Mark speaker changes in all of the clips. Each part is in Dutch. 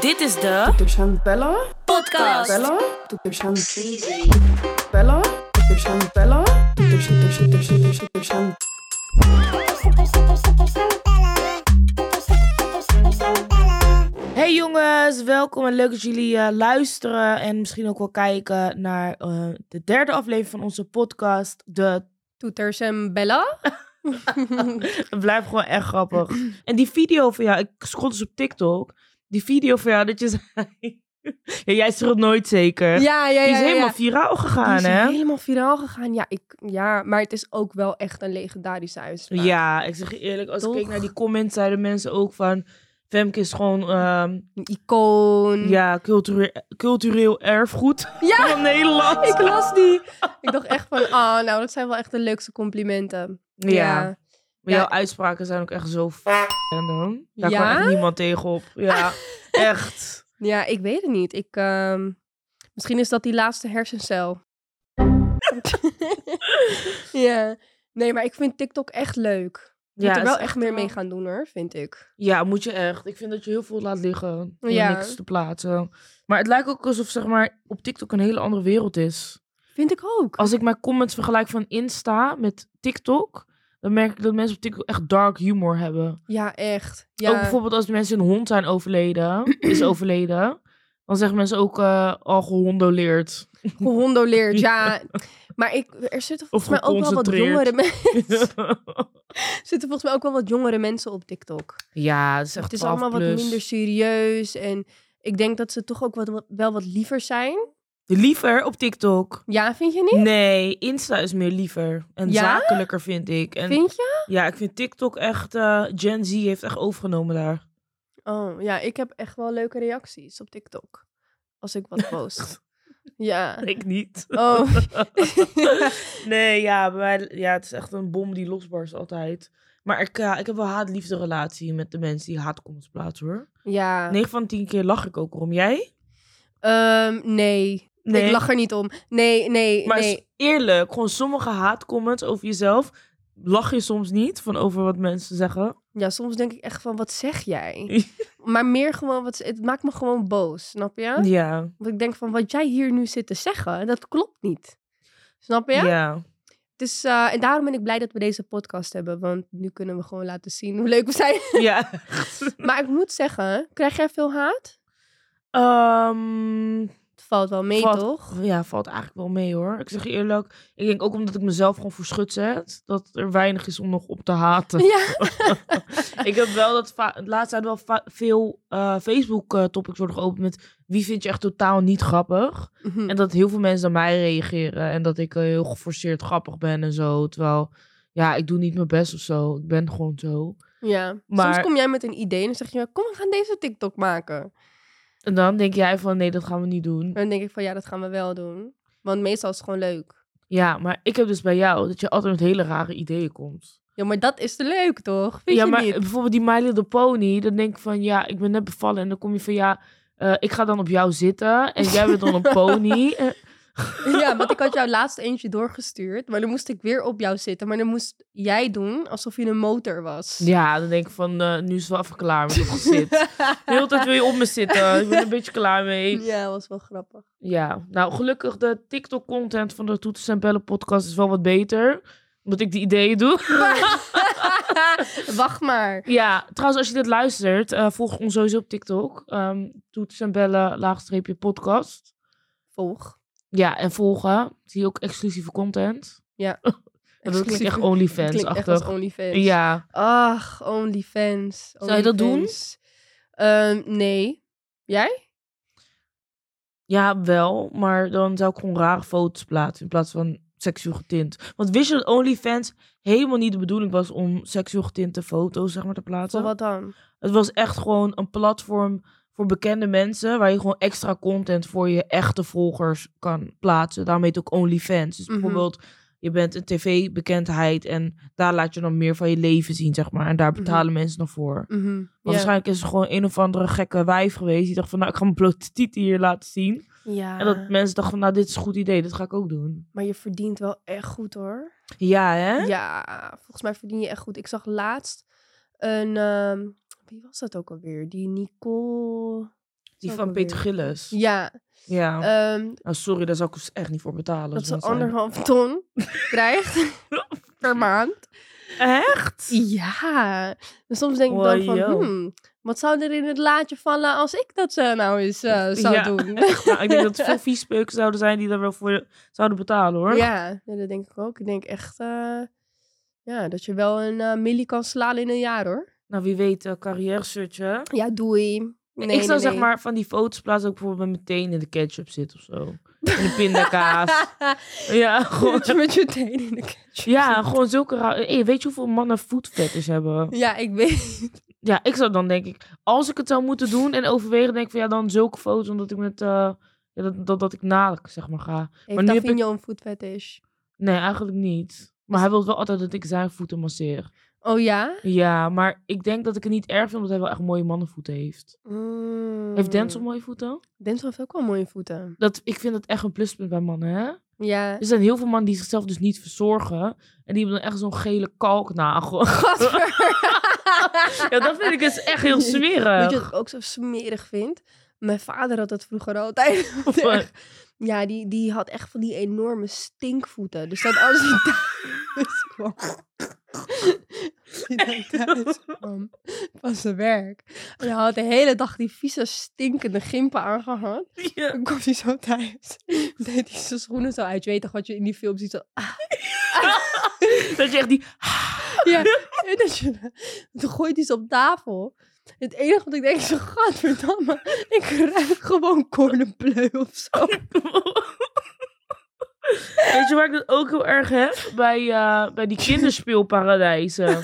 Speaker 1: Dit is de
Speaker 2: Tu chant Bella?
Speaker 1: podcast.
Speaker 2: Bella? Tu chant Bella? Tu chant Bella? Tu chant tu chant tu chant tu chant
Speaker 3: Hey jongens, welkom en leuk dat jullie eh, luisteren en misschien ook wel kijken naar eh, de derde aflevering van onze podcast. De...
Speaker 4: Toeters en Bella.
Speaker 3: Het blijft gewoon echt grappig. En die video van jou, ik scroll dus op TikTok, die video van jou dat je zei... ja, jij schreeuwt nooit zeker.
Speaker 4: ja, ja, ja.
Speaker 3: die is
Speaker 4: ja, ja.
Speaker 3: helemaal viraal gegaan,
Speaker 4: Die is
Speaker 3: hè?
Speaker 4: helemaal viraal gegaan. Ja, ik, ja, maar het is ook wel echt een legendarische uitspraak.
Speaker 3: Ja, ik zeg je eerlijk, als
Speaker 4: Toch?
Speaker 3: ik keek naar die comments, zeiden mensen ook van... Femke is gewoon ehm,
Speaker 4: Een icoon.
Speaker 3: ja, cultureel, cultureel erfgoed
Speaker 4: Ja,
Speaker 3: van Nederland.
Speaker 4: ik las die. Ik dacht echt van, ah, nou, dat zijn wel echt de leukste complimenten.
Speaker 3: ja. Maar
Speaker 4: Ja.
Speaker 3: jouw uitspraken zijn ook echt zo f***ing random. Daar
Speaker 4: Ja?
Speaker 3: kan echt niemand tegenop. Ja, echt.
Speaker 4: Ja, ik weet het niet. Ik, ehm, misschien is dat die laatste hersencel. ja. Nee, maar ik vind TikTok echt leuk. Je
Speaker 3: Ja,
Speaker 4: moet er wel
Speaker 3: het is
Speaker 4: echt meer mee
Speaker 3: wel-
Speaker 4: gaan doen hoor, vind ik.
Speaker 3: Ja, moet je echt. Ik vind dat je heel veel laat liggen om
Speaker 4: Ja.
Speaker 3: niks te plaatsen. Maar het lijkt ook alsof zeg maar, op TikTok een hele andere wereld is.
Speaker 4: Vind ik ook.
Speaker 3: Als ik mijn comments vergelijk van Insta met TikTok... dan merk ik dat mensen op TikTok echt dark humor hebben.
Speaker 4: Ja, echt. Ja.
Speaker 3: Ook bijvoorbeeld als mensen een hond zijn overleden, is overleden... dan zeggen mensen ook eh al gehondoleerd.
Speaker 4: gehondoleerd. Ja, maar ik, er zitten
Speaker 3: Of
Speaker 4: volgens mij ook wel wat
Speaker 3: geconcentreerd.
Speaker 4: jongere mensen. zitten volgens mij ook wel wat jongere mensen op TikTok.
Speaker 3: ja, het is echt
Speaker 4: het is
Speaker 3: 12
Speaker 4: allemaal wat
Speaker 3: plus.
Speaker 4: minder serieus en ik denk dat ze toch ook wat, wel wat liever zijn.
Speaker 3: Liever op TikTok.
Speaker 4: Ja, vind je niet?
Speaker 3: Nee, Insta is meer liever. En
Speaker 4: Ja?
Speaker 3: zakelijker vind ik. En
Speaker 4: Vind je?
Speaker 3: ja, ik vind TikTok echt. eh, Gen Z heeft echt overgenomen daar.
Speaker 4: Oh, ja, ik heb echt wel leuke reacties op TikTok als ik wat post. ja.
Speaker 3: Ik niet.
Speaker 4: Oh.
Speaker 3: nee, ja, bij mij, ja, het is echt een bom die losbarst altijd. Maar ik, ja, ik heb wel haat-liefde relatie met de mensen die haatcomments plaatsen hoor.
Speaker 4: ja.
Speaker 3: 9 van 10 keer lach ik ook om. Jij?
Speaker 4: Ehm, nee. Ik lach er niet om. Nee, nee,
Speaker 3: Maar
Speaker 4: nee.
Speaker 3: is eerlijk, gewoon sommige haatcomments over jezelf. Lach je soms niet van over wat mensen zeggen?
Speaker 4: Ja, soms denk ik echt van, wat zeg jij? maar meer gewoon, wat, het maakt me gewoon boos, snap je?
Speaker 3: Ja.
Speaker 4: Want ik denk van, wat jij hier nu zit te zeggen, dat klopt niet. Snap je?
Speaker 3: ja.
Speaker 4: Dus, eh, en daarom ben ik blij dat we deze podcast hebben. Want nu kunnen we gewoon laten zien hoe leuk we zijn.
Speaker 3: Ja.
Speaker 4: maar ik moet zeggen, krijg jij veel haat?
Speaker 3: Ehm,
Speaker 4: Het valt wel mee,
Speaker 3: Valt-
Speaker 4: toch?
Speaker 3: ja, valt eigenlijk wel mee hoor. Ik zeg je eerlijk, ik denk ook omdat ik mezelf gewoon voor schut zet, dat er weinig is om nog op te haten.
Speaker 4: Ja.
Speaker 3: ik heb wel dat va- de laatste tijd wel va- veel eh, Facebook eh, topics worden geopend met wie vind je echt totaal niet grappig.
Speaker 4: Mhm.
Speaker 3: En dat heel veel mensen aan mij reageren en dat ik eh, heel geforceerd grappig ben en zo. Terwijl, ja, ik doe niet mijn best of zo. Ik ben gewoon zo.
Speaker 4: ja.
Speaker 3: Maar-
Speaker 4: Soms kom jij met een idee en dan zeg je, kom, we gaan deze TikTok maken. En
Speaker 3: En dan denk jij van nee, dat gaan we niet doen.
Speaker 4: dan denk ik van, ja, dat gaan we wel doen. Want meestal is het gewoon leuk.
Speaker 3: Ja, maar ik heb dus bij jou dat je altijd met hele rare ideeën komt.
Speaker 4: Ja, maar dat is te leuk, toch? Vind
Speaker 3: ja,
Speaker 4: je
Speaker 3: maar
Speaker 4: niet?
Speaker 3: bijvoorbeeld die My Little Pony, dan denk ik van ja, ik ben net bevallen en dan kom je van ja, eh, ik ga dan op jou zitten en jij bent dan een pony. Eh,
Speaker 4: Ja, want ik had jou laatst eentje doorgestuurd. Maar dan moest ik weer op jou zitten. Maar dan moest jij doen alsof je een motor was.
Speaker 3: ja, dan denk ik van eh, nu is het wel even klaar met dat gezit. De hele tijd wil je op me zitten, ik ben er een beetje klaar mee.
Speaker 4: Ja, was wel grappig.
Speaker 3: Ja, nou gelukkig de TikTok content van de Toeters en Bellen podcast is wel wat beter, omdat ik die ideeën doe.
Speaker 4: Wacht maar.
Speaker 3: Ja, trouwens als je dit luistert, eh, volg ons sowieso op TikTok. Ehm Toeters en Bellen, laagstreepje podcast.
Speaker 4: Volg.
Speaker 3: Ja, en volgen. Zie je ook exclusieve content.
Speaker 4: Ja.
Speaker 3: En dat klinkt echt
Speaker 4: Het klinkt echt als
Speaker 3: OnlyFans-achtig.
Speaker 4: OnlyFans.
Speaker 3: Ja.
Speaker 4: Ach, OnlyFans.
Speaker 3: Zou je dat doen?
Speaker 4: OnlyFans. Ehm, nee.
Speaker 3: ja, wel. Maar dan zou ik gewoon rare foto's plaatsen in plaats van seksueel getint. Want wist je dat OnlyFans helemaal niet de bedoeling was om seksueel getinte foto's zeg maar, te plaatsen?
Speaker 4: Voor wat dan?
Speaker 3: Het was echt gewoon een platform voor bekende mensen... waar je gewoon extra content voor je echte volgers kan plaatsen. Daarmee heet het ook OnlyFans. Dus
Speaker 4: Mhm.
Speaker 3: bijvoorbeeld, je bent een tv-bekendheid... en daar laat je dan meer van je leven zien, zeg maar. En daar
Speaker 4: Mhm.
Speaker 3: betalen mensen dan voor.
Speaker 4: Mhm,
Speaker 3: Maar
Speaker 4: ja.
Speaker 3: waarschijnlijk is er gewoon een of andere gekke wijf geweest. Die dacht van, nou, ik ga mijn blote tieten hier laten zien.
Speaker 4: Ja.
Speaker 3: En dat mensen dachten van, nou, dit is een goed idee. Dat ga ik ook doen.
Speaker 4: Maar je verdient wel echt goed hoor.
Speaker 3: Ja, hè?
Speaker 4: Ja, volgens mij verdien je echt goed. Ik zag laatst een. ehm, wie was dat ook alweer? Die Nicole.
Speaker 3: Die
Speaker 4: Ook
Speaker 3: van
Speaker 4: alweer.
Speaker 3: Peter Gillis. Ja.
Speaker 4: Ja, ehm,
Speaker 3: Nou, sorry, daar zou ik dus echt niet voor betalen.
Speaker 4: dat
Speaker 3: als
Speaker 4: ze
Speaker 3: mensen-
Speaker 4: anderhalf ton krijgt per maand.
Speaker 3: Echt?
Speaker 4: Ja. En soms denk ik dan van,
Speaker 3: Wow.
Speaker 4: hmm, wat zou er in het laadje vallen als ik dat eh, nou eens eh, zou
Speaker 3: Ja.
Speaker 4: doen?
Speaker 3: Nou, ik denk dat er veel viespeuken zouden zijn die daar wel voor zouden betalen, hoor.
Speaker 4: Ja, ja, dat denk ik ook. Ik denk echt eh, ja, dat je wel een eh millie kan slaan in een jaar hoor.
Speaker 3: Nou, wie weet, eh carrière search, hè?
Speaker 4: Ja, doei. Nee,
Speaker 3: ik zou
Speaker 4: nee,
Speaker 3: zeg
Speaker 4: nee.
Speaker 3: maar van die foto's plaatsen ook bijvoorbeeld met meteen in de ketchup zit of zo. In de pindakaas. ja, gewoon.
Speaker 4: Dat je met je teen in de ketchup
Speaker 3: Ja,
Speaker 4: zit.
Speaker 3: gewoon zulke raar. Hey, weet je hoeveel mannen voetvetters hebben?
Speaker 4: Ja, ik weet.
Speaker 3: Ja, ik zou dan denk ik, als ik het zou moeten doen en overwegen, denk ik van ja, dan zulke foto's, omdat ik met, eh, ja, dat, dat, dat ik naak, zeg maar, ga.
Speaker 4: Heeft
Speaker 3: nu heb ik-
Speaker 4: Davigno een voetfetish?
Speaker 3: Nee, eigenlijk niet. Maar hij wil wel altijd dat ik zijn voeten masseer.
Speaker 4: Oh ja?
Speaker 3: Ja, maar ik denk dat ik het niet erg vind, omdat hij wel echt mooie mannenvoeten heeft. Heeft Denzel
Speaker 4: Mm.
Speaker 3: mooie voeten?
Speaker 4: Hmm. Denzel heeft ook wel mooie voeten.
Speaker 3: Dat, ik vind dat echt een pluspunt bij mannen, hè?
Speaker 4: Ja.
Speaker 3: Er zijn heel veel mannen die zichzelf dus niet verzorgen. En die hebben dan echt zo'n gele kalknagel. ja, dat vind ik dus echt heel
Speaker 4: Weet je
Speaker 3: smerig.
Speaker 4: wat ik ook zo smerig vind? Mijn vader had dat vroeger altijd.
Speaker 3: Wat?
Speaker 4: ja, die, die had echt van die enorme stinkvoeten. Dus dat als hij thuis kwam... als hij dan thuis kwam van zijn werk. En hij had de hele dag die vieze stinkende gimpen aangehad.
Speaker 3: Ja.
Speaker 4: Dan kwam hij zo thuis. Deed hij zijn schoenen zo uit. Je weet toch wat je in die film ziet? Zo, ah,
Speaker 3: Dat je echt die...
Speaker 4: ja. En dat je, toen gooit hij ze op tafel. Het enige wat ik denk is, gadverdamme, ik ruik gewoon cornbleu of zo.
Speaker 3: Weet je waar ik dat ook heel erg heb? Bij, eh, bij die kinderspeelparadijzen.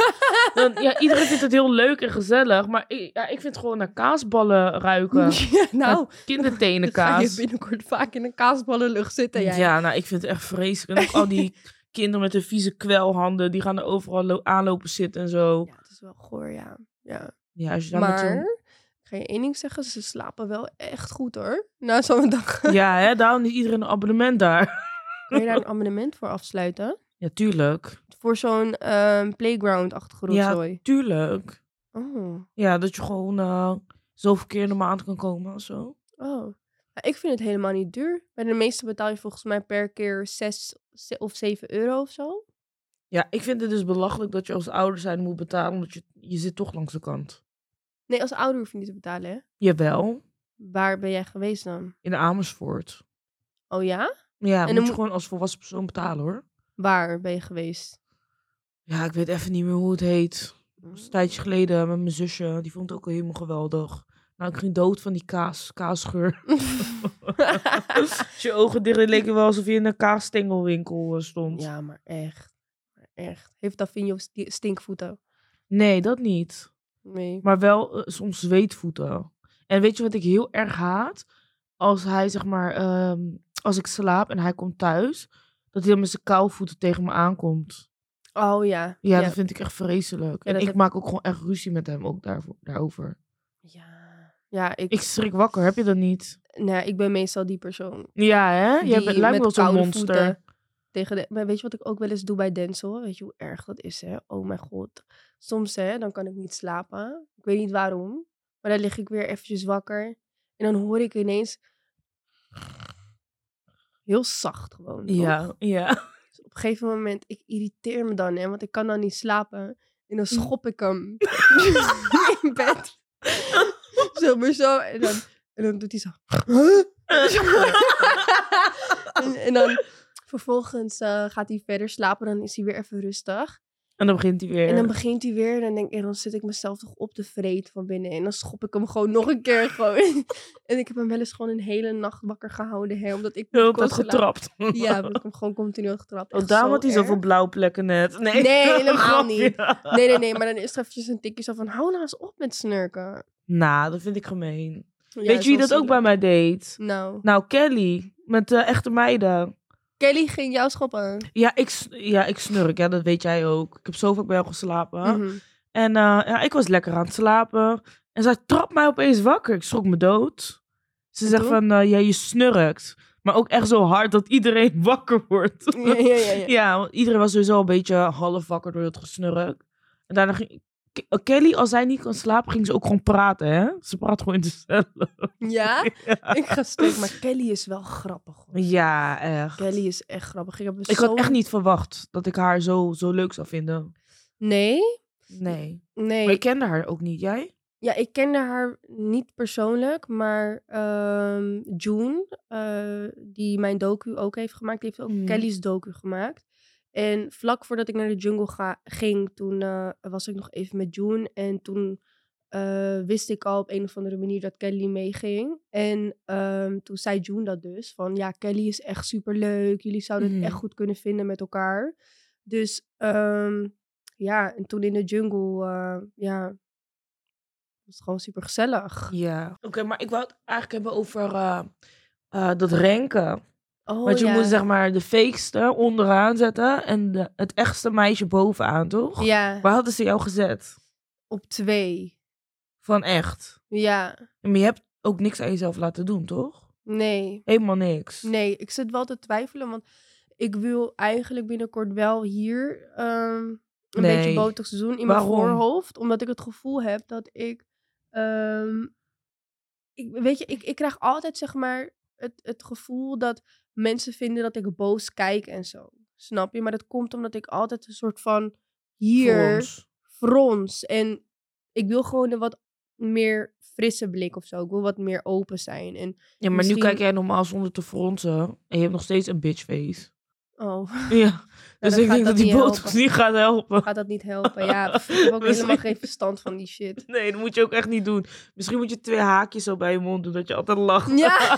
Speaker 3: Dan, ja, iedereen vindt het heel leuk en gezellig. Maar ik, ja, ik vind gewoon naar kaasballen ruiken.
Speaker 4: Ja, nou, dan ga je
Speaker 3: Kindertenenkaas.
Speaker 4: binnenkort vaak in een kaasballenlucht zitten. Jij.
Speaker 3: Ja, nou, ik vind het echt vreselijk. En ook al die kinderen met hun vieze kwelhanden, die gaan er overal lo- aanlopen zitten en zo.
Speaker 4: Ja, het is wel goor, ja. ja.
Speaker 3: Ja, als je daar met
Speaker 4: maar,
Speaker 3: zo'n-
Speaker 4: ik ga je één ding zeggen, ze slapen wel echt goed hoor. Na zo'n dag.
Speaker 3: Ja, hè, daarom niet iedereen een abonnement daar.
Speaker 4: Kun je daar een abonnement voor afsluiten?
Speaker 3: Ja, tuurlijk.
Speaker 4: Voor zo'n ehm, playground-achtige
Speaker 3: Ja.
Speaker 4: rotzooi.
Speaker 3: Tuurlijk.
Speaker 4: Oh.
Speaker 3: Ja, dat je gewoon eh zoveel keer in de maand kan komen of zo.
Speaker 4: Oh. Maar Ik vind het helemaal niet duur. Bij de meeste betaal je volgens mij per keer 6 of 7 euro of zo.
Speaker 3: Ja, ik vind het dus belachelijk dat je als ouder zijn moet betalen, omdat je, je zit toch langs de kant.
Speaker 4: Nee, als ouder hoef je niet te betalen, hè?
Speaker 3: Jawel,
Speaker 4: Waar ben jij geweest dan?
Speaker 3: in Amersfoort.
Speaker 4: Oh ja?
Speaker 3: Ja, moet
Speaker 4: dan
Speaker 3: je
Speaker 4: moet-
Speaker 3: gewoon als volwassen persoon betalen hoor.
Speaker 4: Waar ben je geweest?
Speaker 3: Ja, ik weet even niet meer hoe het heet. Dat was een tijdje geleden met mijn zusje. Die vond het ook helemaal geweldig. Nou, ik ging dood van die kaas, kaasgeur. Als je ogen dicht deed, leek het wel alsof je in een kaasstengelwinkel eh, stond.
Speaker 4: ja, maar echt. Maar echt. Heeft Davigno sti- stinkvoeten?
Speaker 3: Nee, dat niet.
Speaker 4: Nee.
Speaker 3: Maar wel eh, soms zweetvoeten. En weet je wat ik heel erg haat? Als hij zeg maar, ehm, als ik slaap en hij komt thuis, dat hij dan met zijn koude voeten tegen me aankomt.
Speaker 4: Oh ja.
Speaker 3: Ja,
Speaker 4: Ja.
Speaker 3: dat vind ik echt vreselijk.
Speaker 4: Ja,
Speaker 3: en
Speaker 4: dat
Speaker 3: ik
Speaker 4: heb-
Speaker 3: maak ook gewoon echt ruzie met hem ook daarvoor, daarover.
Speaker 4: Ja, ja ik,
Speaker 3: Ik schrik wakker, heb je dat niet?
Speaker 4: nee, ik ben meestal die persoon.
Speaker 3: Ja, hè? Jij bent,
Speaker 4: die
Speaker 3: lijkt me wel
Speaker 4: met
Speaker 3: zo'n
Speaker 4: koude
Speaker 3: monster.
Speaker 4: voeten Tegen de, maar weet je wat ik ook wel eens doe bij Denzel? Weet je hoe erg dat is, hè? Oh mijn god. Soms, hè, dan kan ik niet slapen. Ik weet niet waarom. Maar dan lig ik weer eventjes wakker. En dan hoor ik ineens... Heel zacht gewoon. toch?
Speaker 3: Ja, ja.
Speaker 4: Dus op een gegeven moment, ik irriteer me dan, hè. Want ik kan dan niet slapen. En
Speaker 3: Mm.
Speaker 4: dan schop ik hem in bed. zo, maar zo. En dan, en dan doet hij zo... en, en dan vervolgens eh, gaat hij verder slapen. Dan is hij weer even rustig.
Speaker 3: en dan begint hij weer.
Speaker 4: En dan begint hij weer. En dan denk ik, eh, dan zit ik mezelf toch op te vreet van binnen. En dan schop ik hem gewoon nog een keer. Gewoon. en ik heb hem wel eens gewoon een hele nacht wakker gehouden. Hè, omdat ik
Speaker 3: De hele
Speaker 4: niet kon
Speaker 3: tijd
Speaker 4: slapen.
Speaker 3: getrapt.
Speaker 4: Ja, omdat ik hem gewoon continu had getrapt.
Speaker 3: Oh,
Speaker 4: Echt
Speaker 3: daarom had hij
Speaker 4: erg.
Speaker 3: zoveel blauwplekken net. Nee,
Speaker 4: Nee, helemaal
Speaker 3: grapje.
Speaker 4: niet. Nee, nee, nee. Maar dan is er eventjes een tikje zo van, hou nou eens op met snurken.
Speaker 3: Nou, dat vind ik gemeen.
Speaker 4: Ja,
Speaker 3: Weet je wie
Speaker 4: zo
Speaker 3: dat ook bij
Speaker 4: zielig.
Speaker 3: mij deed?
Speaker 4: Nou,
Speaker 3: Nou, Kelly. Met de echte meiden.
Speaker 4: Kelly ging jou schoppen.
Speaker 3: Ja ik, s- ja, ik snurk. Ja, dat weet jij ook. Ik heb zo vaak bij jou geslapen.
Speaker 4: Mhm.
Speaker 3: En eh, ja, ik was lekker aan het slapen. En zij trapt mij opeens wakker. Ik schrok me dood. Ze
Speaker 4: En
Speaker 3: zegt
Speaker 4: toen?
Speaker 3: van, eh, ja, je snurkt. Maar ook echt zo hard dat iedereen wakker wordt.
Speaker 4: Ja, ja, ja. ja.
Speaker 3: Ja, want iedereen was sowieso een beetje half wakker door het gesnurk. En daarna ging, Ke- oh, Kelly, als zij niet kan slapen, ging ze ook gewoon praten, hè? Ze praat gewoon in de cellen.
Speaker 4: Ja? Ik ga stuk. Maar Kelly is wel grappig. hoor.
Speaker 3: Ja, echt.
Speaker 4: Kelly is echt grappig. Ik, heb
Speaker 3: Ik
Speaker 4: zo-
Speaker 3: had echt niet verwacht dat ik haar zo, zo leuk zou vinden.
Speaker 4: Nee?
Speaker 3: Nee.
Speaker 4: Nee.
Speaker 3: Maar ik kende haar ook niet. Jij?
Speaker 4: Ja, ik kende haar niet persoonlijk, maar ehm, June, eh, die mijn docu ook heeft gemaakt, die heeft ook
Speaker 3: Mhm.
Speaker 4: Kelly's docu gemaakt. En vlak voordat ik naar de jungle ga, ging, toen eh, was ik nog even met June. En toen eh, wist ik al op een of andere manier dat Kelly meeging. En ehm, toen zei June dat dus, van ja, Kelly is echt superleuk. Jullie zouden
Speaker 3: Mhm.
Speaker 4: het echt goed kunnen vinden met elkaar. Dus ehm, ja, en toen in de jungle, eh, ja, was gewoon super gezellig.
Speaker 3: Ja. Oké, maar ik wou het eigenlijk hebben over eh, eh, dat renken.
Speaker 4: Oh,
Speaker 3: Want je
Speaker 4: ja.
Speaker 3: moet zeg maar de fakeste onderaan zetten en de- het echtste meisje bovenaan, toch?
Speaker 4: Ja,
Speaker 3: Waar hadden ze jou gezet?
Speaker 4: op twee.
Speaker 3: Van echt.
Speaker 4: Ja,
Speaker 3: Maar je hebt ook niks aan jezelf laten doen, toch?
Speaker 4: nee.
Speaker 3: Helemaal niks.
Speaker 4: Nee, ik zit wel te twijfelen, want ik wil eigenlijk binnenkort wel hier ehm, een beetje
Speaker 3: Nee.
Speaker 4: botox doen in
Speaker 3: Waarom?
Speaker 4: mijn voorhoofd. Omdat ik het gevoel heb dat ik... ehm, ik weet je, ik, ik krijg altijd zeg maar het, het gevoel dat mensen vinden dat ik boos kijk en zo. Snap je? Maar dat komt omdat ik altijd een soort van
Speaker 3: Voor
Speaker 4: hier...
Speaker 3: ons.
Speaker 4: frons. En ik wil gewoon een wat meer frisse blik of zo. Ik wil wat meer open zijn. En,
Speaker 3: Ja, maar
Speaker 4: Misschien-
Speaker 3: nu kijk jij normaal zonder te fronsen en je hebt nog steeds een bitchface.
Speaker 4: oh,
Speaker 3: Ja, dus
Speaker 4: dan
Speaker 3: ik
Speaker 4: gaat
Speaker 3: denk
Speaker 4: dat
Speaker 3: dat die
Speaker 4: niet
Speaker 3: botox
Speaker 4: helpen.
Speaker 3: niet gaat helpen.
Speaker 4: gaat dat niet helpen? Ja, pff, ik heb ook helemaal
Speaker 3: Misschien-
Speaker 4: geen verstand van die shit.
Speaker 3: Nee, dat moet je ook echt niet doen. Misschien moet je twee haakjes zo bij je mond doen, dat je altijd lacht.
Speaker 4: Ja.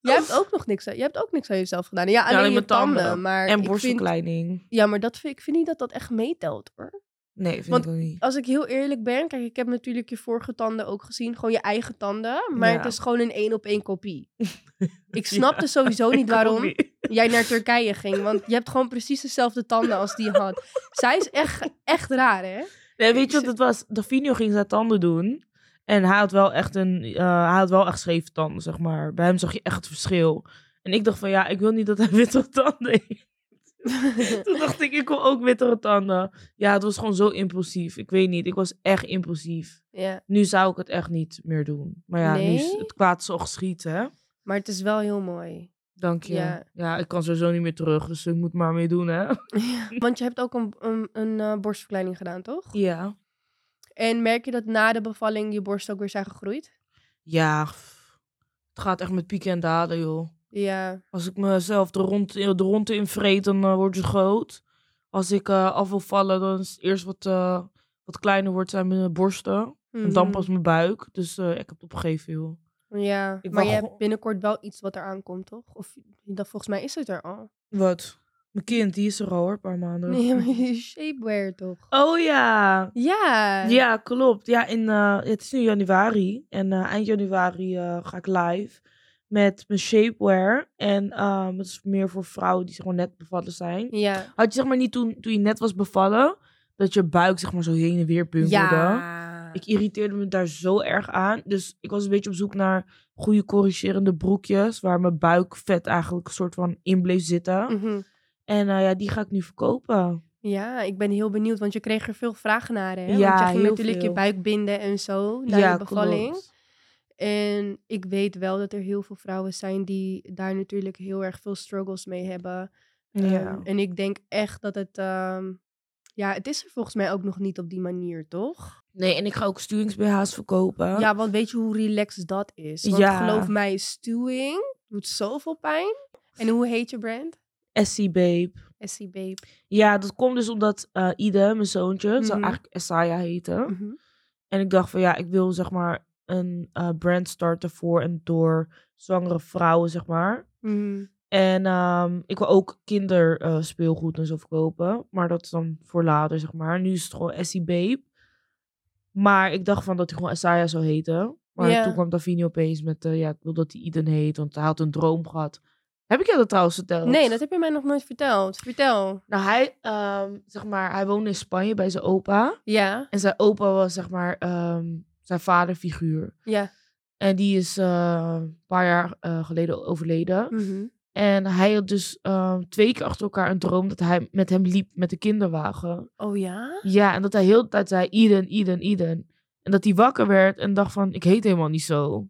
Speaker 4: Jij hebt ook nog niks, aan- jij hebt ook niks aan jezelf gedaan. Ja, alleen,
Speaker 3: alleen
Speaker 4: je
Speaker 3: mijn
Speaker 4: tanden.
Speaker 3: tanden.
Speaker 4: maar
Speaker 3: en
Speaker 4: ik vind,
Speaker 3: borstverkleining.
Speaker 4: Ja, maar dat vind, ik vind niet dat dat echt meetelt hoor.
Speaker 3: Nee, vind
Speaker 4: Want-
Speaker 3: ik ook niet.
Speaker 4: Als ik heel eerlijk ben, kijk, ik heb natuurlijk je vorige tanden ook gezien. Gewoon je eigen tanden. Maar
Speaker 3: Ja.
Speaker 4: het is gewoon een één op één kopie. Ik snapte sowieso Oh, niet waarom. jij naar Turkije ging. Want je hebt gewoon precies dezelfde tanden als die je had. Zij is echt, echt raar, hè?
Speaker 3: Nee, weet je wat het was? Davino ging zijn tanden doen. En hij had wel echt een... eh, hij had wel echt scheve tanden, zeg maar. Bij hem zag je echt het verschil. En ik dacht van, ja, ik wil niet dat hij wittere tanden heeft. Toen dacht ik, ik wil ook wittere tanden. Ja, het was gewoon zo impulsief. Ik weet niet, ik was echt impulsief.
Speaker 4: ja,
Speaker 3: Nu zou ik het echt niet meer doen. Maar ja, nu is
Speaker 4: Nee?
Speaker 3: het kwaad zo geschiet, hè?
Speaker 4: maar het is wel heel mooi.
Speaker 3: Dank je.
Speaker 4: Ja.
Speaker 3: Ja. ik kan sowieso niet meer terug, dus ik moet maar mee doen, hè?
Speaker 4: Want je hebt ook een, een, een eh, borstverkleining gedaan, toch?
Speaker 3: Ja.
Speaker 4: En merk je dat na de bevalling je borsten ook weer zijn gegroeid?
Speaker 3: Ja, pff. het gaat echt met pieken en daden, joh.
Speaker 4: Ja.
Speaker 3: Als ik mezelf de ronde, de ronde in vreet, dan eh, wordt ze groot. Als ik eh, af wil vallen, dan is het eerst wat, eh, wat kleiner wordt zijn mijn borsten. En dan
Speaker 4: Mhm.
Speaker 3: pas mijn buik. Dus eh, ik heb het opgegeven, joh.
Speaker 4: Ja,
Speaker 3: Ik
Speaker 4: maar
Speaker 3: wou
Speaker 4: je hebt
Speaker 3: gewoon-
Speaker 4: binnenkort wel iets wat eraan komt, toch? Of dat, volgens mij is het er al.
Speaker 3: Wat? Mijn kind, die is er al hoor, een paar maanden.
Speaker 4: Nee, maar je shapewear toch?
Speaker 3: Oh ja!
Speaker 4: Ja.
Speaker 3: Ja, klopt. Ja, in, eh, het is nu januari. En eh, eind januari eh, ga ik live met mijn shapewear. En ehm het is meer voor vrouwen die gewoon net bevallen zijn.
Speaker 4: Ja.
Speaker 3: Had je zeg maar niet toen, toen je net was bevallen, dat je buik zeg maar zo heen en weer pumpelde?
Speaker 4: Ja.
Speaker 3: Ik irriteerde me daar zo erg aan. Dus ik was een beetje op zoek naar goede corrigerende broekjes. Waar mijn buikvet eigenlijk een soort van in bleef zitten.
Speaker 4: Mhm.
Speaker 3: En eh, ja, die ga ik nu verkopen.
Speaker 4: Ja, ik ben heel benieuwd, want je kreeg er veel vragen naar, hè? want
Speaker 3: Ja,
Speaker 4: je ging
Speaker 3: heel
Speaker 4: natuurlijk je
Speaker 3: veel.
Speaker 4: buik binden en zo, na
Speaker 3: ja,
Speaker 4: je bevalling.
Speaker 3: klopt.
Speaker 4: En ik weet wel dat er heel veel vrouwen zijn die daar natuurlijk heel erg veel struggles mee hebben.
Speaker 3: Ja.
Speaker 4: Ehm, en ik denk echt dat het... ehm, ja, het is er volgens mij ook nog niet op die manier, toch?
Speaker 3: Nee, en ik ga ook sturings-BH's verkopen.
Speaker 4: Ja, want weet je hoe relaxed dat is? Want
Speaker 3: Ja.
Speaker 4: geloof mij, stuwing doet zoveel pijn. En hoe heet je brand?
Speaker 3: Essie Babe.
Speaker 4: Essie Babe.
Speaker 3: Ja, dat komt dus omdat eh Ide, mijn zoontje, zou
Speaker 4: Mhm.
Speaker 3: eigenlijk Esaya heten.
Speaker 4: Mhm.
Speaker 3: En ik dacht van ja, ik wil zeg maar een eh, brand starten voor en door zwangere vrouwen, zeg maar.
Speaker 4: Mhm.
Speaker 3: En ehm, ik wil ook kinderspeelgoed en zo verkopen. Maar dat is dan voor later, zeg maar. Nu is het gewoon Essie Babe. Maar ik dacht van dat hij gewoon Esaya zou heten. Maar
Speaker 4: Ja.
Speaker 3: toen kwam Davini opeens met eh, ja, ik wil dat hij Iden heet, want hij had een droom gehad. Heb ik jou dat trouwens verteld?
Speaker 4: Nee, dat heb je mij nog nooit verteld. Vertel.
Speaker 3: Nou, hij, ehm, zeg maar, hij woonde in Spanje bij zijn opa.
Speaker 4: Ja,
Speaker 3: En zijn opa was, zeg maar, ehm, zijn vaderfiguur.
Speaker 4: ja.
Speaker 3: En die is eh, een paar jaar eh, geleden overleden.
Speaker 4: Mhm.
Speaker 3: En hij had dus ehm, twee keer achter elkaar een droom dat hij met hem liep met de kinderwagen.
Speaker 4: Oh ja?
Speaker 3: Ja, en dat hij heel de tijd zei, Eden, Eden, Eden. En dat hij wakker werd en dacht van, ik heet helemaal niet zo.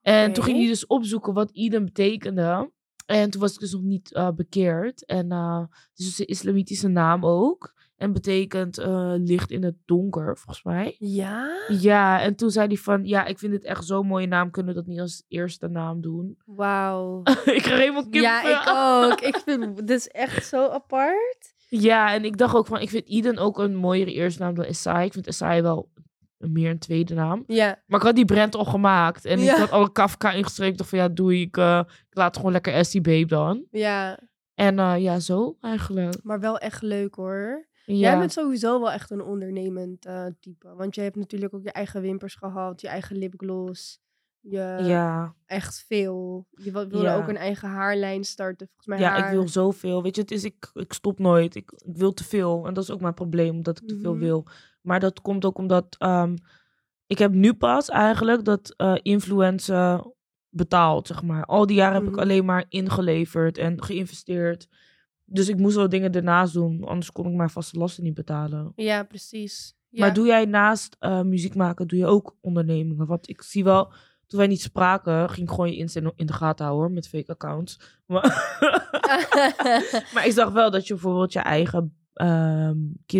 Speaker 3: En toen ging
Speaker 4: Oké.
Speaker 3: hij dus opzoeken wat Eden betekende. En toen was ik dus nog niet eh, bekeerd. En eh, het is dus een islamitische naam ook. En betekent eh, licht in het donker, volgens mij.
Speaker 4: Ja?
Speaker 3: Ja, en toen zei hij van, ja, ik vind dit echt zo'n mooie naam. Kunnen we dat niet als eerste naam doen?
Speaker 4: Wauw.
Speaker 3: ik kreeg helemaal kippen.
Speaker 4: Ja, ik ook. Ik vind dit is echt zo apart.
Speaker 3: Ja, en ik dacht ook van, ik vind Eden ook een mooiere eerste naam dan Esai. Ik vind Esai wel een- meer een tweede naam.
Speaker 4: Ja.
Speaker 3: Maar ik had die brand al gemaakt. En
Speaker 4: Ja.
Speaker 3: ik had alle Kafka ingeschreven. Ik dacht van, ja, doei, ik, eh, ik laat gewoon lekker Essie Babe dan.
Speaker 4: Ja,
Speaker 3: En eh, ja, zo eigenlijk.
Speaker 4: maar wel echt leuk hoor. Jij
Speaker 3: Ja,
Speaker 4: bent sowieso wel echt een ondernemend eh, type. Want je hebt natuurlijk ook je eigen wimpers gehad, je eigen lipgloss. Je
Speaker 3: ja.
Speaker 4: echt veel. Je wa- wilde
Speaker 3: Ja.
Speaker 4: ook een eigen haarlijn starten, volgens mij.
Speaker 3: ja
Speaker 4: haar.
Speaker 3: ik wil zoveel. Weet je, het is, ik, ik stop nooit. Ik, ik wil te veel. En dat is ook mijn probleem, omdat ik te veel
Speaker 4: Mhm.
Speaker 3: wil. Maar dat komt ook omdat ehm, ik heb nu pas eigenlijk dat eh influencer betaald, zeg maar. Al die jaren heb
Speaker 4: Mhm.
Speaker 3: ik alleen maar ingeleverd en geïnvesteerd. Dus ik moest wel dingen daarnaast doen, anders kon ik mijn vaste lasten niet betalen.
Speaker 4: Ja, precies. Ja.
Speaker 3: Maar doe jij naast eh, muziek maken, doe je ook ondernemingen? Want ik zie wel, toen wij niet spraken, ging ik gewoon je Insta in de gaten houden hoor, met fake accounts. Maar, maar ik zag wel dat je bijvoorbeeld je eigen ehm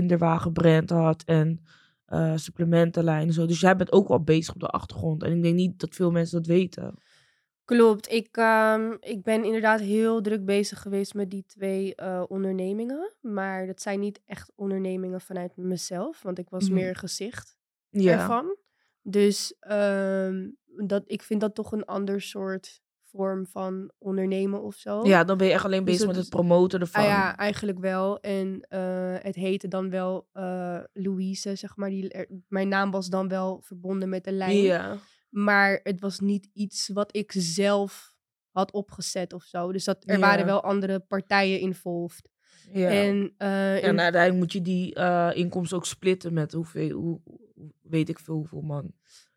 Speaker 3: kinderwagenbrand had en eh, supplementenlijn en zo. Dus jij bent ook wel bezig op de achtergrond. En ik denk niet dat veel mensen dat weten.
Speaker 4: Klopt. Ik, ehm, ik ben inderdaad heel druk bezig geweest met die twee eh, ondernemingen. Maar dat zijn niet echt ondernemingen vanuit mezelf, want ik was
Speaker 3: Mhm.
Speaker 4: meer gezicht ervan. Dus ehm, dat, ik vind dat toch een ander soort vorm van ondernemen of zo.
Speaker 3: ja, dan ben je echt alleen
Speaker 4: Dus
Speaker 3: bezig
Speaker 4: dat
Speaker 3: met het
Speaker 4: is-
Speaker 3: promoten ervan.
Speaker 4: Ah ja, eigenlijk wel. En eh, het heette dan wel eh, Louise, zeg maar. Die, er- mijn naam was dan wel verbonden met de lijn.
Speaker 3: Ja.
Speaker 4: Maar het was niet iets wat ik zelf had opgezet of zo. Dus dat, er
Speaker 3: Ja.
Speaker 4: waren wel andere partijen involved.
Speaker 3: Ja.
Speaker 4: En, eh, in-
Speaker 3: En uiteindelijk moet je die eh, inkomsten ook splitten met hoeveel, hoe, hoe- weet ik veel hoeveel man.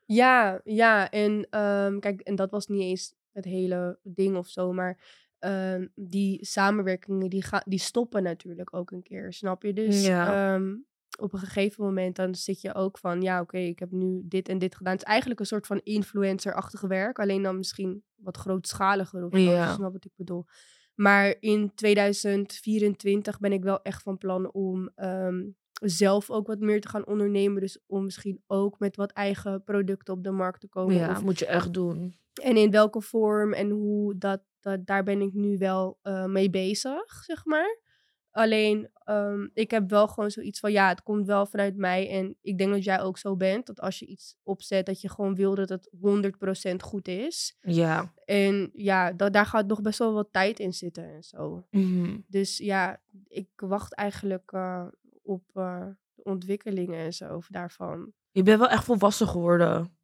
Speaker 4: ja, ja. En ehm, kijk, en dat was niet eens het hele ding of zo. Maar ehm, die samenwerkingen, die, gaan, die stoppen natuurlijk ook een keer, snap je? Dus
Speaker 3: Mm, Ja.
Speaker 4: ehm, op een gegeven moment dan zit je ook van... Ja, oké, ik heb nu dit en dit gedaan. Het is eigenlijk een soort van influencer-achtig werk. Alleen dan misschien wat grootschaliger of zo.
Speaker 3: Ja.
Speaker 4: als je snapt wat ik bedoel. Maar in 2024 ben ik wel echt van plan om ehm, zelf ook wat meer te gaan ondernemen. Dus om misschien ook met wat eigen producten op de markt te komen.
Speaker 3: Ja,
Speaker 4: Of-
Speaker 3: moet je echt doen.
Speaker 4: en in welke vorm en hoe, dat, dat, daar ben ik nu wel eh, mee bezig, zeg maar. Alleen, ehm, ik heb wel gewoon zoiets van, ja, het komt wel vanuit mij. En ik denk dat jij ook zo bent, dat als je iets opzet, dat je gewoon wil dat het 100% goed is.
Speaker 3: Ja.
Speaker 4: En ja, dat, daar gaat nog best wel wat tijd in zitten en zo.
Speaker 3: Mhm.
Speaker 4: Dus ja, ik wacht eigenlijk eh, op eh, de ontwikkelingen en zo daarvan.
Speaker 3: Je bent wel echt volwassen geworden.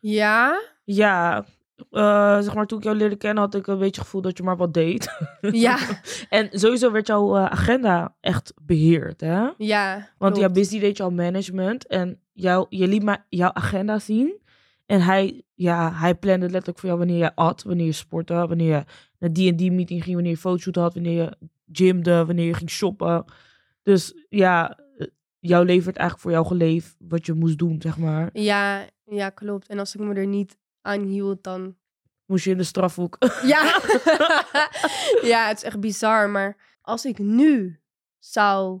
Speaker 4: Ja,
Speaker 3: Ja. Eh, zeg maar, toen ik jou leerde kennen had ik een beetje het gevoel dat je maar wat deed.
Speaker 4: ja,
Speaker 3: En sowieso werd jouw eh, agenda echt beheerd, hè?
Speaker 4: ja.
Speaker 3: Want jouw
Speaker 4: klopt.
Speaker 3: busy deed jouw management en jou, je liet maar jouw agenda zien. En hij, ja, hij plande letterlijk voor jou wanneer je at, wanneer je sportte, wanneer je naar die en die meeting ging, wanneer je fotoshoot had, wanneer je gymde, wanneer je ging shoppen. Dus ja, eh, jouw leven werd eigenlijk voor jou geleefd wat je moest doen, zeg maar.
Speaker 4: Ja, ja, klopt. En als ik me er niet aan hield, dan.
Speaker 3: Moest je in de strafhoek.
Speaker 4: Ja, ja het is echt bizar. Maar als ik nu zou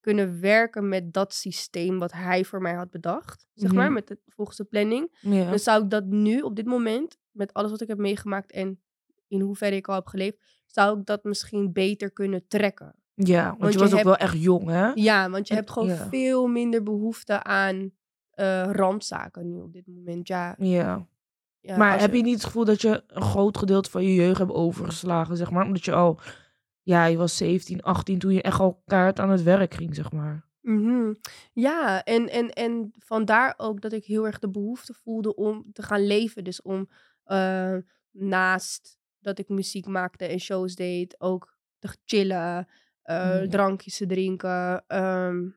Speaker 4: kunnen werken met dat systeem wat hij voor mij had bedacht, zeg maar,
Speaker 3: Mhm.
Speaker 4: met de volgende planning,
Speaker 3: ja.
Speaker 4: dan Dus zou ik dat nu op dit moment, met alles wat ik heb meegemaakt en in hoeverre ik al heb geleefd, zou ik dat misschien beter kunnen trekken.
Speaker 3: ja, want,
Speaker 4: want
Speaker 3: je
Speaker 4: je
Speaker 3: was ook
Speaker 4: hebt-
Speaker 3: wel echt jong, hè?
Speaker 4: Ja, want je
Speaker 3: En-
Speaker 4: hebt gewoon
Speaker 3: ja.
Speaker 4: veel minder behoefte aan eh, rampzaken nu op dit moment. Ja,
Speaker 3: Ja.
Speaker 4: ja,
Speaker 3: maar
Speaker 4: Eh, als
Speaker 3: heb je niet het gevoel dat je een groot gedeelte van je jeugd hebt overgeslagen, zeg maar? Omdat je al, ja, je was 17, 18 toen je echt al kaart aan het werk ging, zeg maar.
Speaker 4: Mhm. Ja, en, en, en vandaar ook dat ik heel erg de behoefte voelde om te gaan leven. Dus om eh, naast dat ik muziek maakte en shows deed, ook te chillen, eh,
Speaker 3: Mhm.
Speaker 4: drankjes te drinken, ehm,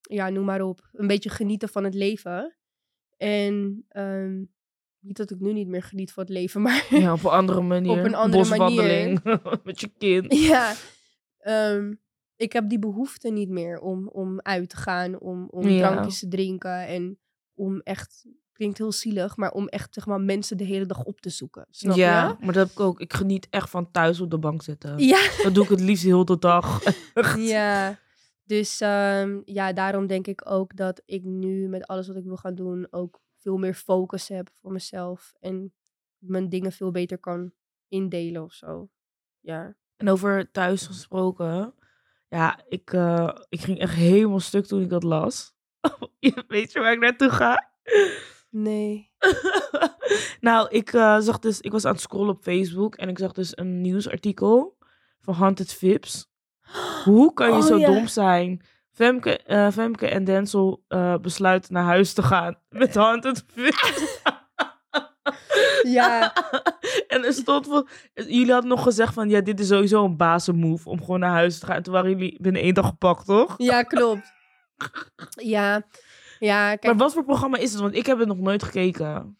Speaker 4: ja, noem maar op. Een beetje genieten van het leven. En ehm, Niet dat ik nu niet meer geniet van het leven, maar...
Speaker 3: Ja, op een andere manier.
Speaker 4: Op een andere
Speaker 3: Boswandeling met je kind.
Speaker 4: ja. ehm, ik heb die behoefte niet meer om, om uit te gaan, om, om
Speaker 3: Ja.
Speaker 4: drankjes te drinken en om echt, klinkt heel zielig, maar om echt zeg maar, mensen de hele dag op te zoeken. Snap
Speaker 3: ja,
Speaker 4: je?
Speaker 3: maar dat heb ik ook. Ik geniet echt van thuis op de bank zitten.
Speaker 4: Ja.
Speaker 3: Dat doe ik het liefst heel de dag.
Speaker 4: ja. Dus ehm, ja, daarom denk ik ook dat ik nu met alles wat ik wil gaan doen ook veel meer focus heb voor mezelf en mijn dingen veel beter kan indelen of zo. Ja.
Speaker 3: En over thuis gesproken. Ja, ik, eh, ik ging echt helemaal stuk toen ik dat las. Weet je waar ik naartoe ga?
Speaker 4: Nee.
Speaker 3: nou, ik eh, zag dus, ik was aan het scrollen op Facebook en ik zag dus een nieuwsartikel van Hunted Vips. Hoe kan je
Speaker 4: Oh,
Speaker 3: zo
Speaker 4: ja.
Speaker 3: dom zijn? Femke, eh, Femke en Denzel eh, besluiten naar huis te gaan met Hunted Vips.
Speaker 4: Ja.
Speaker 3: en er stond van, jullie hadden nog gezegd van, ja, dit is sowieso een bazenmove om gewoon naar huis te gaan. En toen waren jullie binnen één dag gepakt, toch?
Speaker 4: Ja, klopt. Ja, ja kijk.
Speaker 3: Maar wat voor programma is het? Want ik heb het nog nooit gekeken.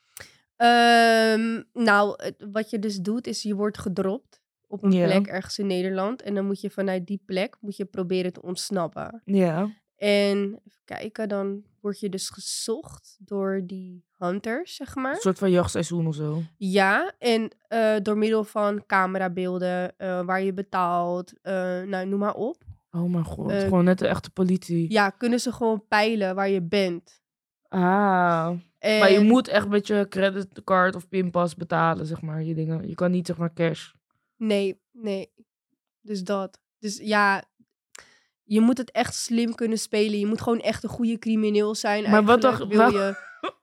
Speaker 4: ehm, nou, het- wat je dus doet is je wordt gedropt op een
Speaker 3: Ja.
Speaker 4: plek ergens in Nederland. En dan moet je vanuit die plek moet je proberen te ontsnappen.
Speaker 3: Ja.
Speaker 4: En even kijken, dan word je dus gezocht door die hunters, zeg maar.
Speaker 3: Een soort van jachtseizoen of zo.
Speaker 4: Ja, en eh, door middel van camerabeelden eh, waar je betaalt, eh, nou, noem maar op.
Speaker 3: Oh mijn god,
Speaker 4: Eh,
Speaker 3: gewoon net de echte politie.
Speaker 4: Ja, kunnen ze gewoon peilen waar je bent.
Speaker 3: Ah. Maar je
Speaker 4: En-
Speaker 3: moet echt met je creditcard of pinpas betalen, zeg maar, je dingen. Je kan niet, zeg maar, cash.
Speaker 4: Nee, nee. Dus dat. Dus ja, je moet het echt slim kunnen spelen. Je moet gewoon echt een goede crimineel zijn.
Speaker 3: Maar wat
Speaker 4: Eigenlijk
Speaker 3: dacht-
Speaker 4: wil je,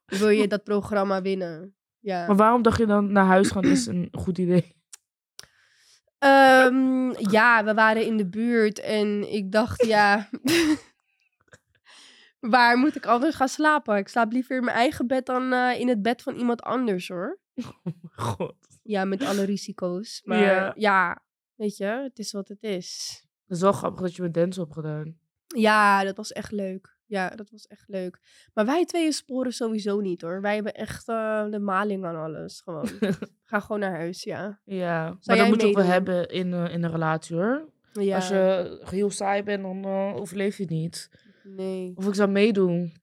Speaker 4: wil je dat programma winnen? Ja.
Speaker 3: Maar waarom dacht je dan naar huis gaan is een goed idee? Oh
Speaker 4: Ehm, ja, we waren in de buurt en ik dacht, ja. Waar moet ik anders gaan slapen? Ik slaap liever in mijn eigen bed dan eh, in het bed van iemand anders hoor.
Speaker 3: God.
Speaker 4: Ja, met alle risico's. Maar
Speaker 3: Ja.
Speaker 4: ja, weet je, het is wat het is.
Speaker 3: Dat is wel grappig dat je met dance hebt gedaan.
Speaker 4: Ja, dat was echt leuk. Ja, dat was echt leuk. Maar wij tweeën sporen sowieso niet hoor. Wij hebben echt eh, de maling aan alles. Gewoon. Ga gewoon naar huis, ja.
Speaker 3: Ja. maar
Speaker 4: jij
Speaker 3: dat moet je ook wel
Speaker 4: meedoen?
Speaker 3: hebben in, eh, in een relatie, hoor.
Speaker 4: ja.
Speaker 3: Als je heel saai bent, dan eh, overleef je het niet.
Speaker 4: Nee.
Speaker 3: Of ik zou meedoen.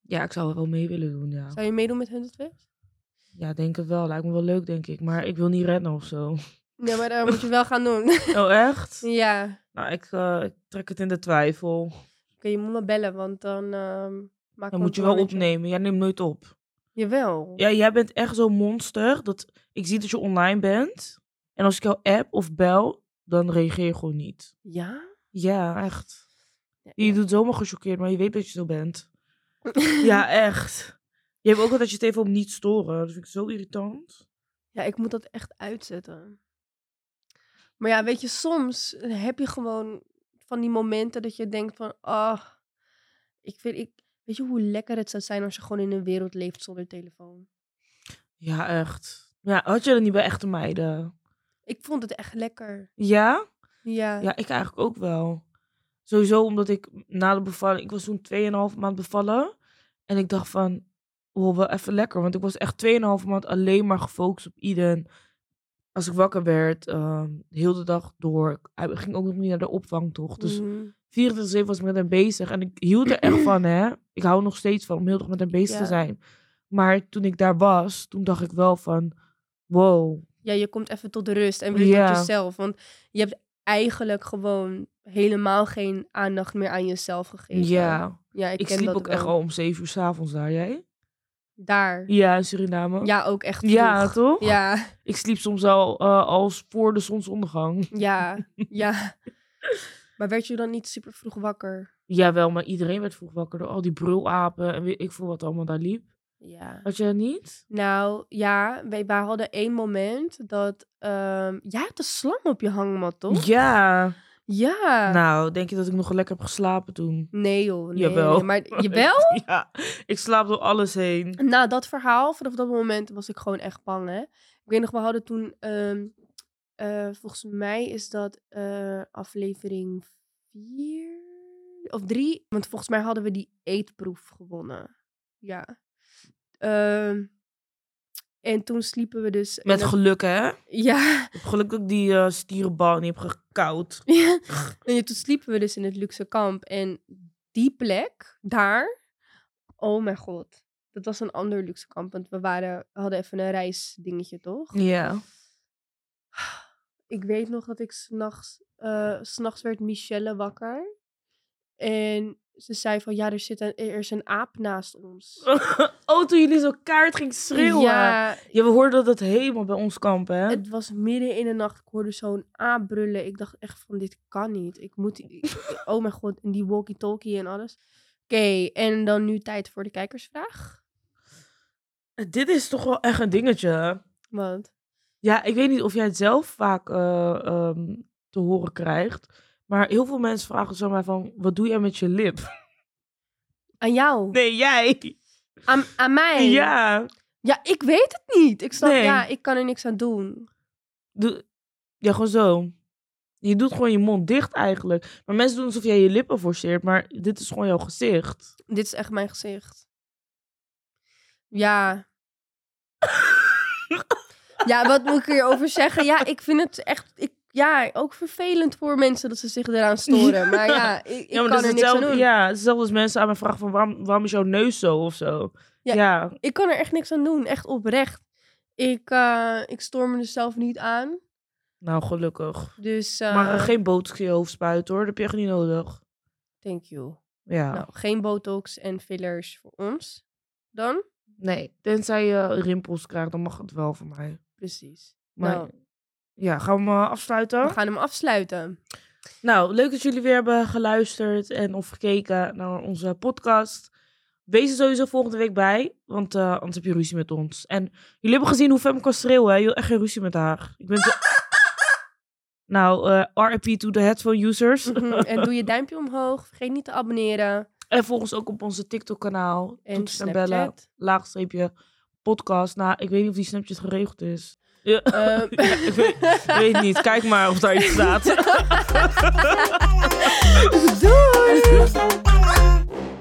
Speaker 3: Ja, ik zou wel mee willen doen, ja.
Speaker 4: Zou je meedoen met hun Twist?
Speaker 3: Ja, denk het wel. Lijkt me wel leuk, denk ik. Maar ik wil niet rennen of zo.
Speaker 4: Nee, maar dat moet je wel gaan doen.
Speaker 3: Oh, echt?
Speaker 4: ja. Oké,
Speaker 3: Nou, ik, eh, ik trek het in de twijfel.
Speaker 4: je moet me bellen, want dan ehm maak
Speaker 3: Dan moet je wel opnemen. Jij neemt nooit op.
Speaker 4: Jawel.
Speaker 3: Ja, jij bent echt zo'n monster. Dat ik zie dat je online bent. En als ik jou app of bel, dan reageer je gewoon niet.
Speaker 4: Ja?
Speaker 3: Ja, echt.
Speaker 4: Ja,
Speaker 3: Je doet zomaar gechoqueerd, maar je weet dat je zo bent. Ja, echt. Je hebt ook altijd je tv op niet storen. Dat vind ik zo irritant.
Speaker 4: Ja, ik moet dat echt uitzetten. Maar ja, weet je, soms eh, heb je gewoon van die momenten dat je denkt van, ah, ik vind, ik, weet je hoe lekker het zou zijn als je gewoon in een wereld leeft zonder telefoon?
Speaker 3: Ja, echt. Ja, had je dat niet bij echte meiden?
Speaker 4: Ik vond het echt lekker.
Speaker 3: Ja?
Speaker 4: Ja.
Speaker 3: Ja, ik eigenlijk ook wel. Sowieso omdat ik na de bevalling... Ik was toen 2,5 maand bevallen. En ik dacht van... Wow, wel even lekker. Want ik was echt 2,5 maand alleen maar gefocust op Iden. Als ik wakker werd, ehm, heel de dag door. Ik hij ging ook nog niet naar de opvang, toch? Dus
Speaker 4: Mhm.
Speaker 3: 24-7 was ik met hem bezig. En ik hield er echt van, hè. Ik hou er nog steeds van om heel de dag met hem bezig
Speaker 4: Ja.
Speaker 3: te zijn. Maar toen ik daar was, toen dacht ik wel van... Wow,
Speaker 4: ja, je komt even tot rust en weer
Speaker 3: Ja.
Speaker 4: tot jezelf. Want je hebt eigenlijk gewoon helemaal geen aandacht meer aan jezelf gegeven.
Speaker 3: ja.
Speaker 4: ja ik,
Speaker 3: Ik,
Speaker 4: ken
Speaker 3: sliep
Speaker 4: dat
Speaker 3: ook echt
Speaker 4: wel.
Speaker 3: al om 7 uur s'avonds daar, jij?
Speaker 4: Daar.
Speaker 3: Ja, in Suriname.
Speaker 4: Ja, ook echt
Speaker 3: Ja,
Speaker 4: vroeg.
Speaker 3: toch?
Speaker 4: Ja.
Speaker 3: Ik sliep soms al eh, als voor de zonsondergang.
Speaker 4: Ja, ja. Maar werd je dan niet super vroeg wakker?
Speaker 3: Jawel, maar iedereen werd vroeg wakker door al die brulapen en weet ik veel wat allemaal daar liep.
Speaker 4: Ja.
Speaker 3: Had je dat niet?
Speaker 4: Nou, ja, wij, wij hadden één moment dat... ehm, jij hebt een slang op je hangmat, toch?
Speaker 3: Ja.
Speaker 4: Ja.
Speaker 3: Nou, denk je dat ik nog lekker heb geslapen toen?
Speaker 4: Nee joh, nee.
Speaker 3: Jawel.
Speaker 4: Maar jawel?
Speaker 3: ja, ik slaap door alles heen.
Speaker 4: Na dat verhaal, vanaf dat moment was ik gewoon echt bang, hè. Ik weet nog, we hadden toen... ehm, eh, volgens mij is dat eh, aflevering 4 of 3. Want volgens mij hadden we die eetproef gewonnen. Ja. Ehm, En toen sliepen we dus... en
Speaker 3: Met
Speaker 4: dat-
Speaker 3: geluk, hè?
Speaker 4: Ja.
Speaker 3: Ik heb geluk dat ik die eh, stierenbal niet heb gekoud.
Speaker 4: Ja. En ja, toen sliepen we dus in het luxe kamp. En die plek, daar, oh mijn god. Dat was een ander luxe kamp, want we waren, we hadden even een reisdingetje, toch?
Speaker 3: Ja.
Speaker 4: Ik weet nog dat ik s'nachts, eh, 's s'nachts werd Michelle wakker. En ze zei van, ja, er, zit een, er is een aap naast ons.
Speaker 3: oh, toen jullie zo kaart ging schreeuwen. Ja.
Speaker 4: Ja,
Speaker 3: we hoorden dat het helemaal bij ons kamp, hè?
Speaker 4: het was midden in de nacht. Ik hoorde zo'n aap brullen. Ik dacht echt van, dit kan niet. Ik moet, ik- oh mijn god, en die walkie-talkie en alles. Oké, en dan nu tijd voor de kijkersvraag.
Speaker 3: Dit is toch wel echt een dingetje. hè?
Speaker 4: Want,
Speaker 3: Ja, ik weet niet of jij het zelf vaak eh, ehm, te horen krijgt. Maar heel veel mensen vragen zo maar van, wat doe jij met je lip?
Speaker 4: aan jou,
Speaker 3: Nee, jij.
Speaker 4: aan, aan mij.
Speaker 3: Ja.
Speaker 4: Ja, ik weet het niet. Ik snap,
Speaker 3: Nee.
Speaker 4: ja, ik kan er niks aan doen.
Speaker 3: Doe- Ja, gewoon zo. Je doet gewoon je mond dicht eigenlijk. Maar mensen doen alsof jij je lippen forceert, maar dit is gewoon jouw gezicht.
Speaker 4: Dit is echt mijn gezicht. Ja. ja, wat moet ik hierover zeggen? Ja, ik vind het echt... Ik, ja, ook vervelend voor mensen dat ze zich eraan storen. Maar ja, ik, ik
Speaker 3: ja, maar
Speaker 4: kan
Speaker 3: dat
Speaker 4: er
Speaker 3: is
Speaker 4: niks aan
Speaker 3: hetzelfde,
Speaker 4: doen.
Speaker 3: ja, hetzelfde als mensen aan me vragen van waarom, waarom is jouw neus zo of zo.
Speaker 4: Ja.
Speaker 3: Ja,
Speaker 4: Ik kan er echt niks aan doen. Echt oprecht. Ik, eh, ik stoor me er zelf niet aan.
Speaker 3: nou gelukkig.
Speaker 4: Dus, eh,
Speaker 3: maar eh, geen botox in je hoofd spuiten hoor, dat heb je echt niet nodig.
Speaker 4: thank you.
Speaker 3: Ja.
Speaker 4: Nou, geen botox en fillers voor ons. Dan?
Speaker 3: Nee, tenzij je rimpels krijgt, dan mag het wel voor mij.
Speaker 4: Precies.
Speaker 3: Maar
Speaker 4: Nou.
Speaker 3: ja, gaan we hem eh, afsluiten?
Speaker 4: We gaan hem afsluiten.
Speaker 3: Nou, leuk dat jullie weer hebben geluisterd en of gekeken naar onze podcast. Wees er sowieso volgende week bij, want eh, anders heb je ruzie met ons. En jullie hebben gezien hoe Fem kan schreeuwen, hè? Je wil echt geen ruzie met haar. Ik ben zo... Nou, eh RIP to the headphone users.
Speaker 4: Mhm. en doe je duimpje omhoog. Vergeet niet te abonneren.
Speaker 3: En volg ons ook op onze TikTok-kanaal.
Speaker 4: En
Speaker 3: Toetsen en bellen,
Speaker 4: Snapchat.
Speaker 3: laagstreepje, podcast. Nou, ik weet niet of die Snapchat geregeld is. Ja,
Speaker 4: Eh, Äh,
Speaker 3: ik weet, ik weet niet. Kijk maar of daar iets staat.
Speaker 1: la la la